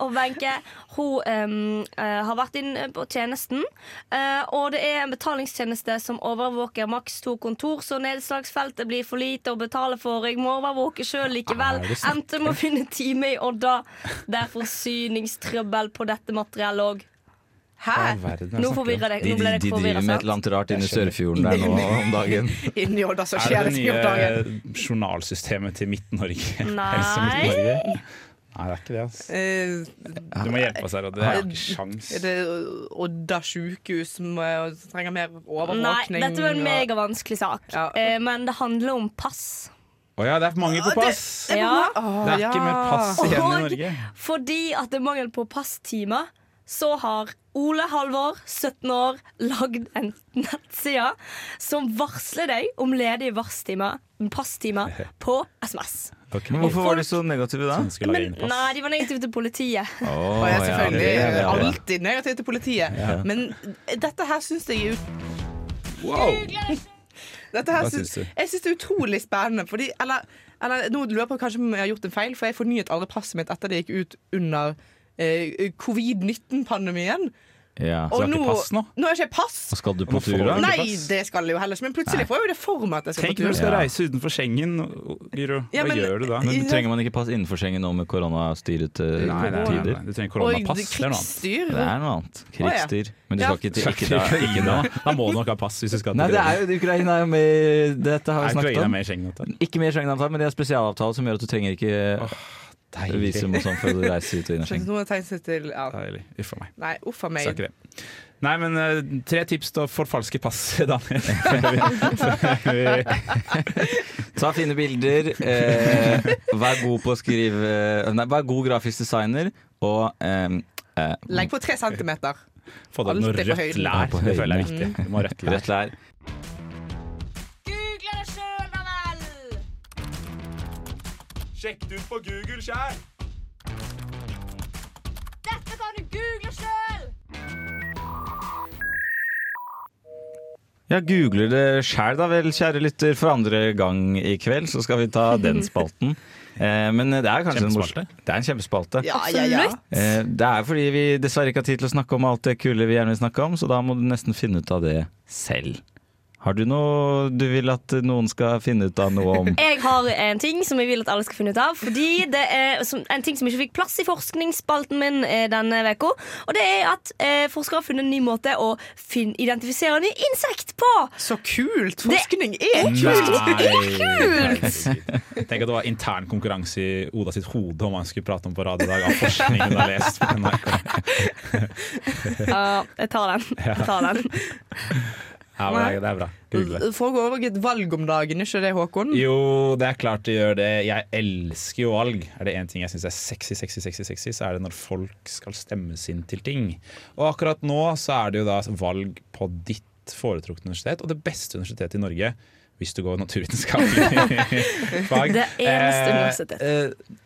[SPEAKER 1] og Wenche hun um, eh, har vært inne på tjenesten. eh, og det er en betalingstjeneste som overvåker maks to kontor, så nedslagsfeltet blir for lite å betale for. Jeg må overvåke sjøl
[SPEAKER 5] Ah,
[SPEAKER 1] likevel.
[SPEAKER 12] Er det sant?
[SPEAKER 1] Endte med å finne time i Odda. Det er forsyningstrøbbel på dette materiellet òg. Hæ?
[SPEAKER 5] Hva i verden er det
[SPEAKER 1] Nå
[SPEAKER 5] snakk om?
[SPEAKER 1] forvirrer deg.
[SPEAKER 5] De,
[SPEAKER 1] Nå ble
[SPEAKER 5] de,
[SPEAKER 1] dere
[SPEAKER 5] de driver
[SPEAKER 1] forvirret,
[SPEAKER 5] med et
[SPEAKER 1] sant?
[SPEAKER 5] eller annet rart inne i Sørfjorden der
[SPEAKER 6] [laughs]
[SPEAKER 5] nå om dagen.
[SPEAKER 7] [laughs] Inni Odda så
[SPEAKER 6] Er det
[SPEAKER 7] skjer
[SPEAKER 6] det
[SPEAKER 7] det ting om dagen.
[SPEAKER 6] nye journalsystemet til Midt-Norge?
[SPEAKER 5] [laughs]
[SPEAKER 7] Nei.
[SPEAKER 6] Helse Midt-Norge? Nei, det er ikke det, altså.
[SPEAKER 7] Eh,
[SPEAKER 6] Du må hjelpe oss her, og det har jeg ikke sjans.
[SPEAKER 7] Er det Odda sjukehus som eh, trenger mer overvåkning?
[SPEAKER 1] Nei, dette var en
[SPEAKER 7] og-
[SPEAKER 1] megavanskelig sak. Eh, men det handler om pass.
[SPEAKER 6] Å ja, det er for mange på pass!
[SPEAKER 1] Ja.
[SPEAKER 6] Det er ikke mer pass igjen i Norge.
[SPEAKER 1] Og fordi at det er mangel på passtimer, så har Ole Halvor, 17 år, lagd en nettside som varsler deg om ledige varstimer- passtimer på SMS.
[SPEAKER 5] Men hvorfor var de så negative da?
[SPEAKER 1] Men, nei, de var negative til politiet.
[SPEAKER 5] Åh,
[SPEAKER 7] Og jeg
[SPEAKER 5] ja,
[SPEAKER 7] er selvfølgelig
[SPEAKER 5] det er det, ja.
[SPEAKER 7] alltid negativ til politiet.
[SPEAKER 5] Ja.
[SPEAKER 7] Men dette her syns jeg er ut... [laughs] Dette her
[SPEAKER 6] Hva
[SPEAKER 7] syns,
[SPEAKER 6] syns du?
[SPEAKER 7] jeg syns det er utrolig spennende. Fordi, eller, eller nå lurer jeg på kanskje om jeg har gjort en feil, for jeg fornyet aldri passet mitt etter det gikk ut under eh, covid-19-pandemien.
[SPEAKER 5] Ja.
[SPEAKER 7] Og nå, nå har jeg ikke pass.
[SPEAKER 5] Og skal du på tur, da?
[SPEAKER 7] Nei, det skal jeg jo heller ikke. Men plutselig får jeg jo det for meg at jeg skal
[SPEAKER 6] Tenk
[SPEAKER 7] på tur.
[SPEAKER 6] når du skal reise utenfor Schengen, Lyro.
[SPEAKER 7] Ja,
[SPEAKER 6] Hva
[SPEAKER 7] men- sånn
[SPEAKER 6] gjør du da?
[SPEAKER 5] Men trenger man ikke pass innenfor Schengen nå med koronastyrete
[SPEAKER 6] Nei, nei, nei, nei.
[SPEAKER 5] tider?
[SPEAKER 6] Du trenger
[SPEAKER 7] koronapass, Oi, det er noe annet. krigsstyr.
[SPEAKER 5] Det er noe annet. Krigsstyr.
[SPEAKER 7] Å, ja.
[SPEAKER 5] Men du skal
[SPEAKER 7] Ja.
[SPEAKER 5] ikke til ikke da. Ikke da.
[SPEAKER 6] Da må du nok ha pass hvis du skal til
[SPEAKER 5] Nei, det er
[SPEAKER 6] Norge.
[SPEAKER 5] jo, Ukraina er jo med i- Dette har vi
[SPEAKER 6] Nei,
[SPEAKER 5] snakket
[SPEAKER 6] Ukraina er
[SPEAKER 5] om.
[SPEAKER 6] med i Schengen-avtalen.
[SPEAKER 5] Ikke med i Schengen-avtalen, men de har spesialavtale som gjør at du trenger ikke visum og sånn for å reise ut og inn av
[SPEAKER 6] [laughs]
[SPEAKER 7] Skjønner
[SPEAKER 5] Schengen.
[SPEAKER 7] du, Nå har jeg tegnet seg til ja.
[SPEAKER 6] Deilig. Uff a meg.
[SPEAKER 7] Nei, uff
[SPEAKER 6] Sa
[SPEAKER 7] a meg.
[SPEAKER 6] ikke det. Nei, men eh, tre tips til å forfalske pass, [laughs] Daniel. Før vi- før vi-
[SPEAKER 5] Ta fine bilder, eh, vær god på å skrive eh, Nei, vær god grafisk designer, og eh, eh,
[SPEAKER 7] Legg på tre centimeter.
[SPEAKER 6] Få deg noe
[SPEAKER 7] Alt er på
[SPEAKER 6] rødt
[SPEAKER 7] høyden.
[SPEAKER 5] Ja,
[SPEAKER 6] lær.
[SPEAKER 5] på
[SPEAKER 6] Det føler jeg er
[SPEAKER 5] høyden.
[SPEAKER 6] viktig. Du må ha rødt lær.
[SPEAKER 5] Rødt lær.
[SPEAKER 12] Google det sjøl, da vel!
[SPEAKER 10] Sjekk det ut på Google sjæl!
[SPEAKER 12] Dette kan du google sjøl!
[SPEAKER 5] Ja, googler det sjæl da vel, kjære lytter. For andre gang i kveld så skal vi ta den [laughs] spalten. Eh, men det er kanskje en morsom- Det er en kjempespalte.
[SPEAKER 7] Ja, ja, ja. Absolutt.
[SPEAKER 5] Eh, det er fordi vi dessverre ikke har tid til å snakke om alt det kule vi gjerne vil snakke om, så da må du nesten finne ut av det selv. Har du noe du vil at noen skal finne ut av noe om?
[SPEAKER 1] Jeg har en ting som jeg vil at alle skal finne ut av. Fordi det er som, En ting som ikke fikk plass i forskningsspalten min eh, denne uka. Og det er at eh, forskere har funnet en ny måte å fin identifisere nye insekt på.
[SPEAKER 7] Så kult! Forskning er
[SPEAKER 1] Hmm.
[SPEAKER 6] kult! Tenk at det var intern konkurranse i Oda sitt hode om hva han skulle prate om på radio i dag, av forskning hun har lest på NRK.
[SPEAKER 1] Ja, jeg tar den. Jeg tar den.
[SPEAKER 6] Ja, men det er- det er bra. Google
[SPEAKER 7] [laughs]
[SPEAKER 6] det.
[SPEAKER 7] Foregår òg et valg om dagen, ikke det, Håkon?
[SPEAKER 6] Jo, det er klart det gjør det. Jeg elsker jo valg. Er det én ting jeg syns er sexy, sexy, sexy, sexy, så er det når folk skal stemmes inn til ting. Og akkurat nå så er det jo da valg på ditt foretrukne universitet, og det beste universitetet i Norge. Hvis du går naturvitenskapelig fag.
[SPEAKER 1] Det eneste
[SPEAKER 6] Eh,
[SPEAKER 1] universitetet.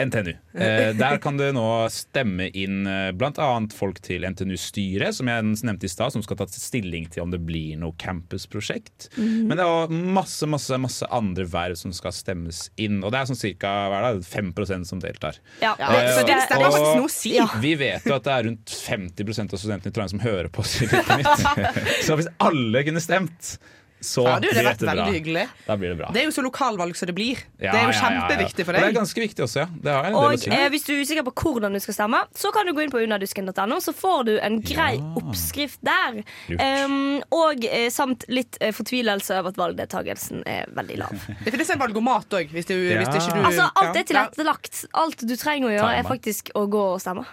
[SPEAKER 6] eh, NTNU. Eh, der kan du nå stemme inn eh, blant annet folk til NTNU-styret, som jeg nevnte i stad, som skal ta stilling til om det blir noe campusprosjekt.
[SPEAKER 10] Mhm.
[SPEAKER 6] Men det er også masse masse, masse andre verv som skal stemmes inn, og det er sånn ca. 5 som deltar.
[SPEAKER 1] Ja,
[SPEAKER 6] Eh,
[SPEAKER 1] så det- det er faktisk noe å si. Ja.
[SPEAKER 6] Vi vet jo at det er rundt 50 av studentene i Trondheim som hører på Studentnytt
[SPEAKER 7] [laughs]
[SPEAKER 6] mitt. Så hvis alle kunne stemt, så
[SPEAKER 7] Ja, du, det
[SPEAKER 6] blir
[SPEAKER 7] har vært
[SPEAKER 6] dette bra.
[SPEAKER 7] veldig hyggelig.
[SPEAKER 6] Da blir det bra.
[SPEAKER 7] Det er jo så lokalvalg som det blir.
[SPEAKER 6] Ja,
[SPEAKER 7] det
[SPEAKER 6] ja, ja,
[SPEAKER 7] er jo
[SPEAKER 6] ja.
[SPEAKER 7] kjempeviktig for
[SPEAKER 6] Og Det
[SPEAKER 7] deg.
[SPEAKER 6] er ganske viktig også, ja. Det har jeg en del å
[SPEAKER 1] Og
[SPEAKER 6] si.
[SPEAKER 1] eh, hvis du er usikker på hvordan du skal stemme, så kan du gå inn på underdusken.no, så får du en grei oppskrift der.
[SPEAKER 7] Lurt.
[SPEAKER 1] Em, og eh, samt litt eh, fortvilelse over at valgdeltakelsen er veldig lav.
[SPEAKER 7] Det finnes en valgomat òg, hvis, du-
[SPEAKER 6] Ja.
[SPEAKER 7] hvis ikke du
[SPEAKER 1] Altså, alt
[SPEAKER 7] Ja.
[SPEAKER 1] er tilrettelagt. Alt du trenger å gjøre, er
[SPEAKER 5] Timer.
[SPEAKER 1] faktisk å gå og stemme.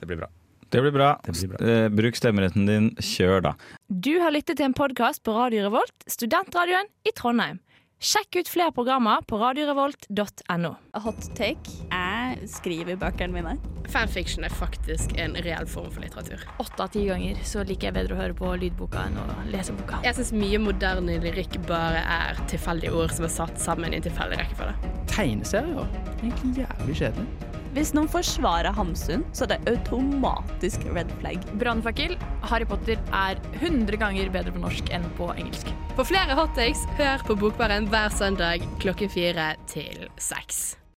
[SPEAKER 6] Det blir bra.
[SPEAKER 5] [laughs] Det blir bra. Eh, bruk stemmeretten din. Kjør, da.
[SPEAKER 13] Du har lyttet til en podkast på Radio Revolt, studentradioen i Trondheim. Sjekk ut flere programmer på radiorevolt.no.
[SPEAKER 14] Hot take. Jeg skriver bøkene mine. Fanfiction er faktisk en reell form for litteratur.
[SPEAKER 13] Åtte av ti ganger så liker jeg bedre å høre på lydboka enn å lese boka.
[SPEAKER 14] Jeg syns mye moderne lyrikk bare er tilfeldige ord som er satt sammen i en tilfeldig rekkefølge.
[SPEAKER 15] Tegneserier? Egentlig jævlig kjedelig.
[SPEAKER 1] Hvis noen forsvarer Hamsun, så er det automatisk red flag.
[SPEAKER 13] Brannfakkel. Harry Potter er 100 ganger bedre på norsk enn på engelsk.
[SPEAKER 16] For flere hot takes, hør på Bokbaren hver søndag klokken fire til seks.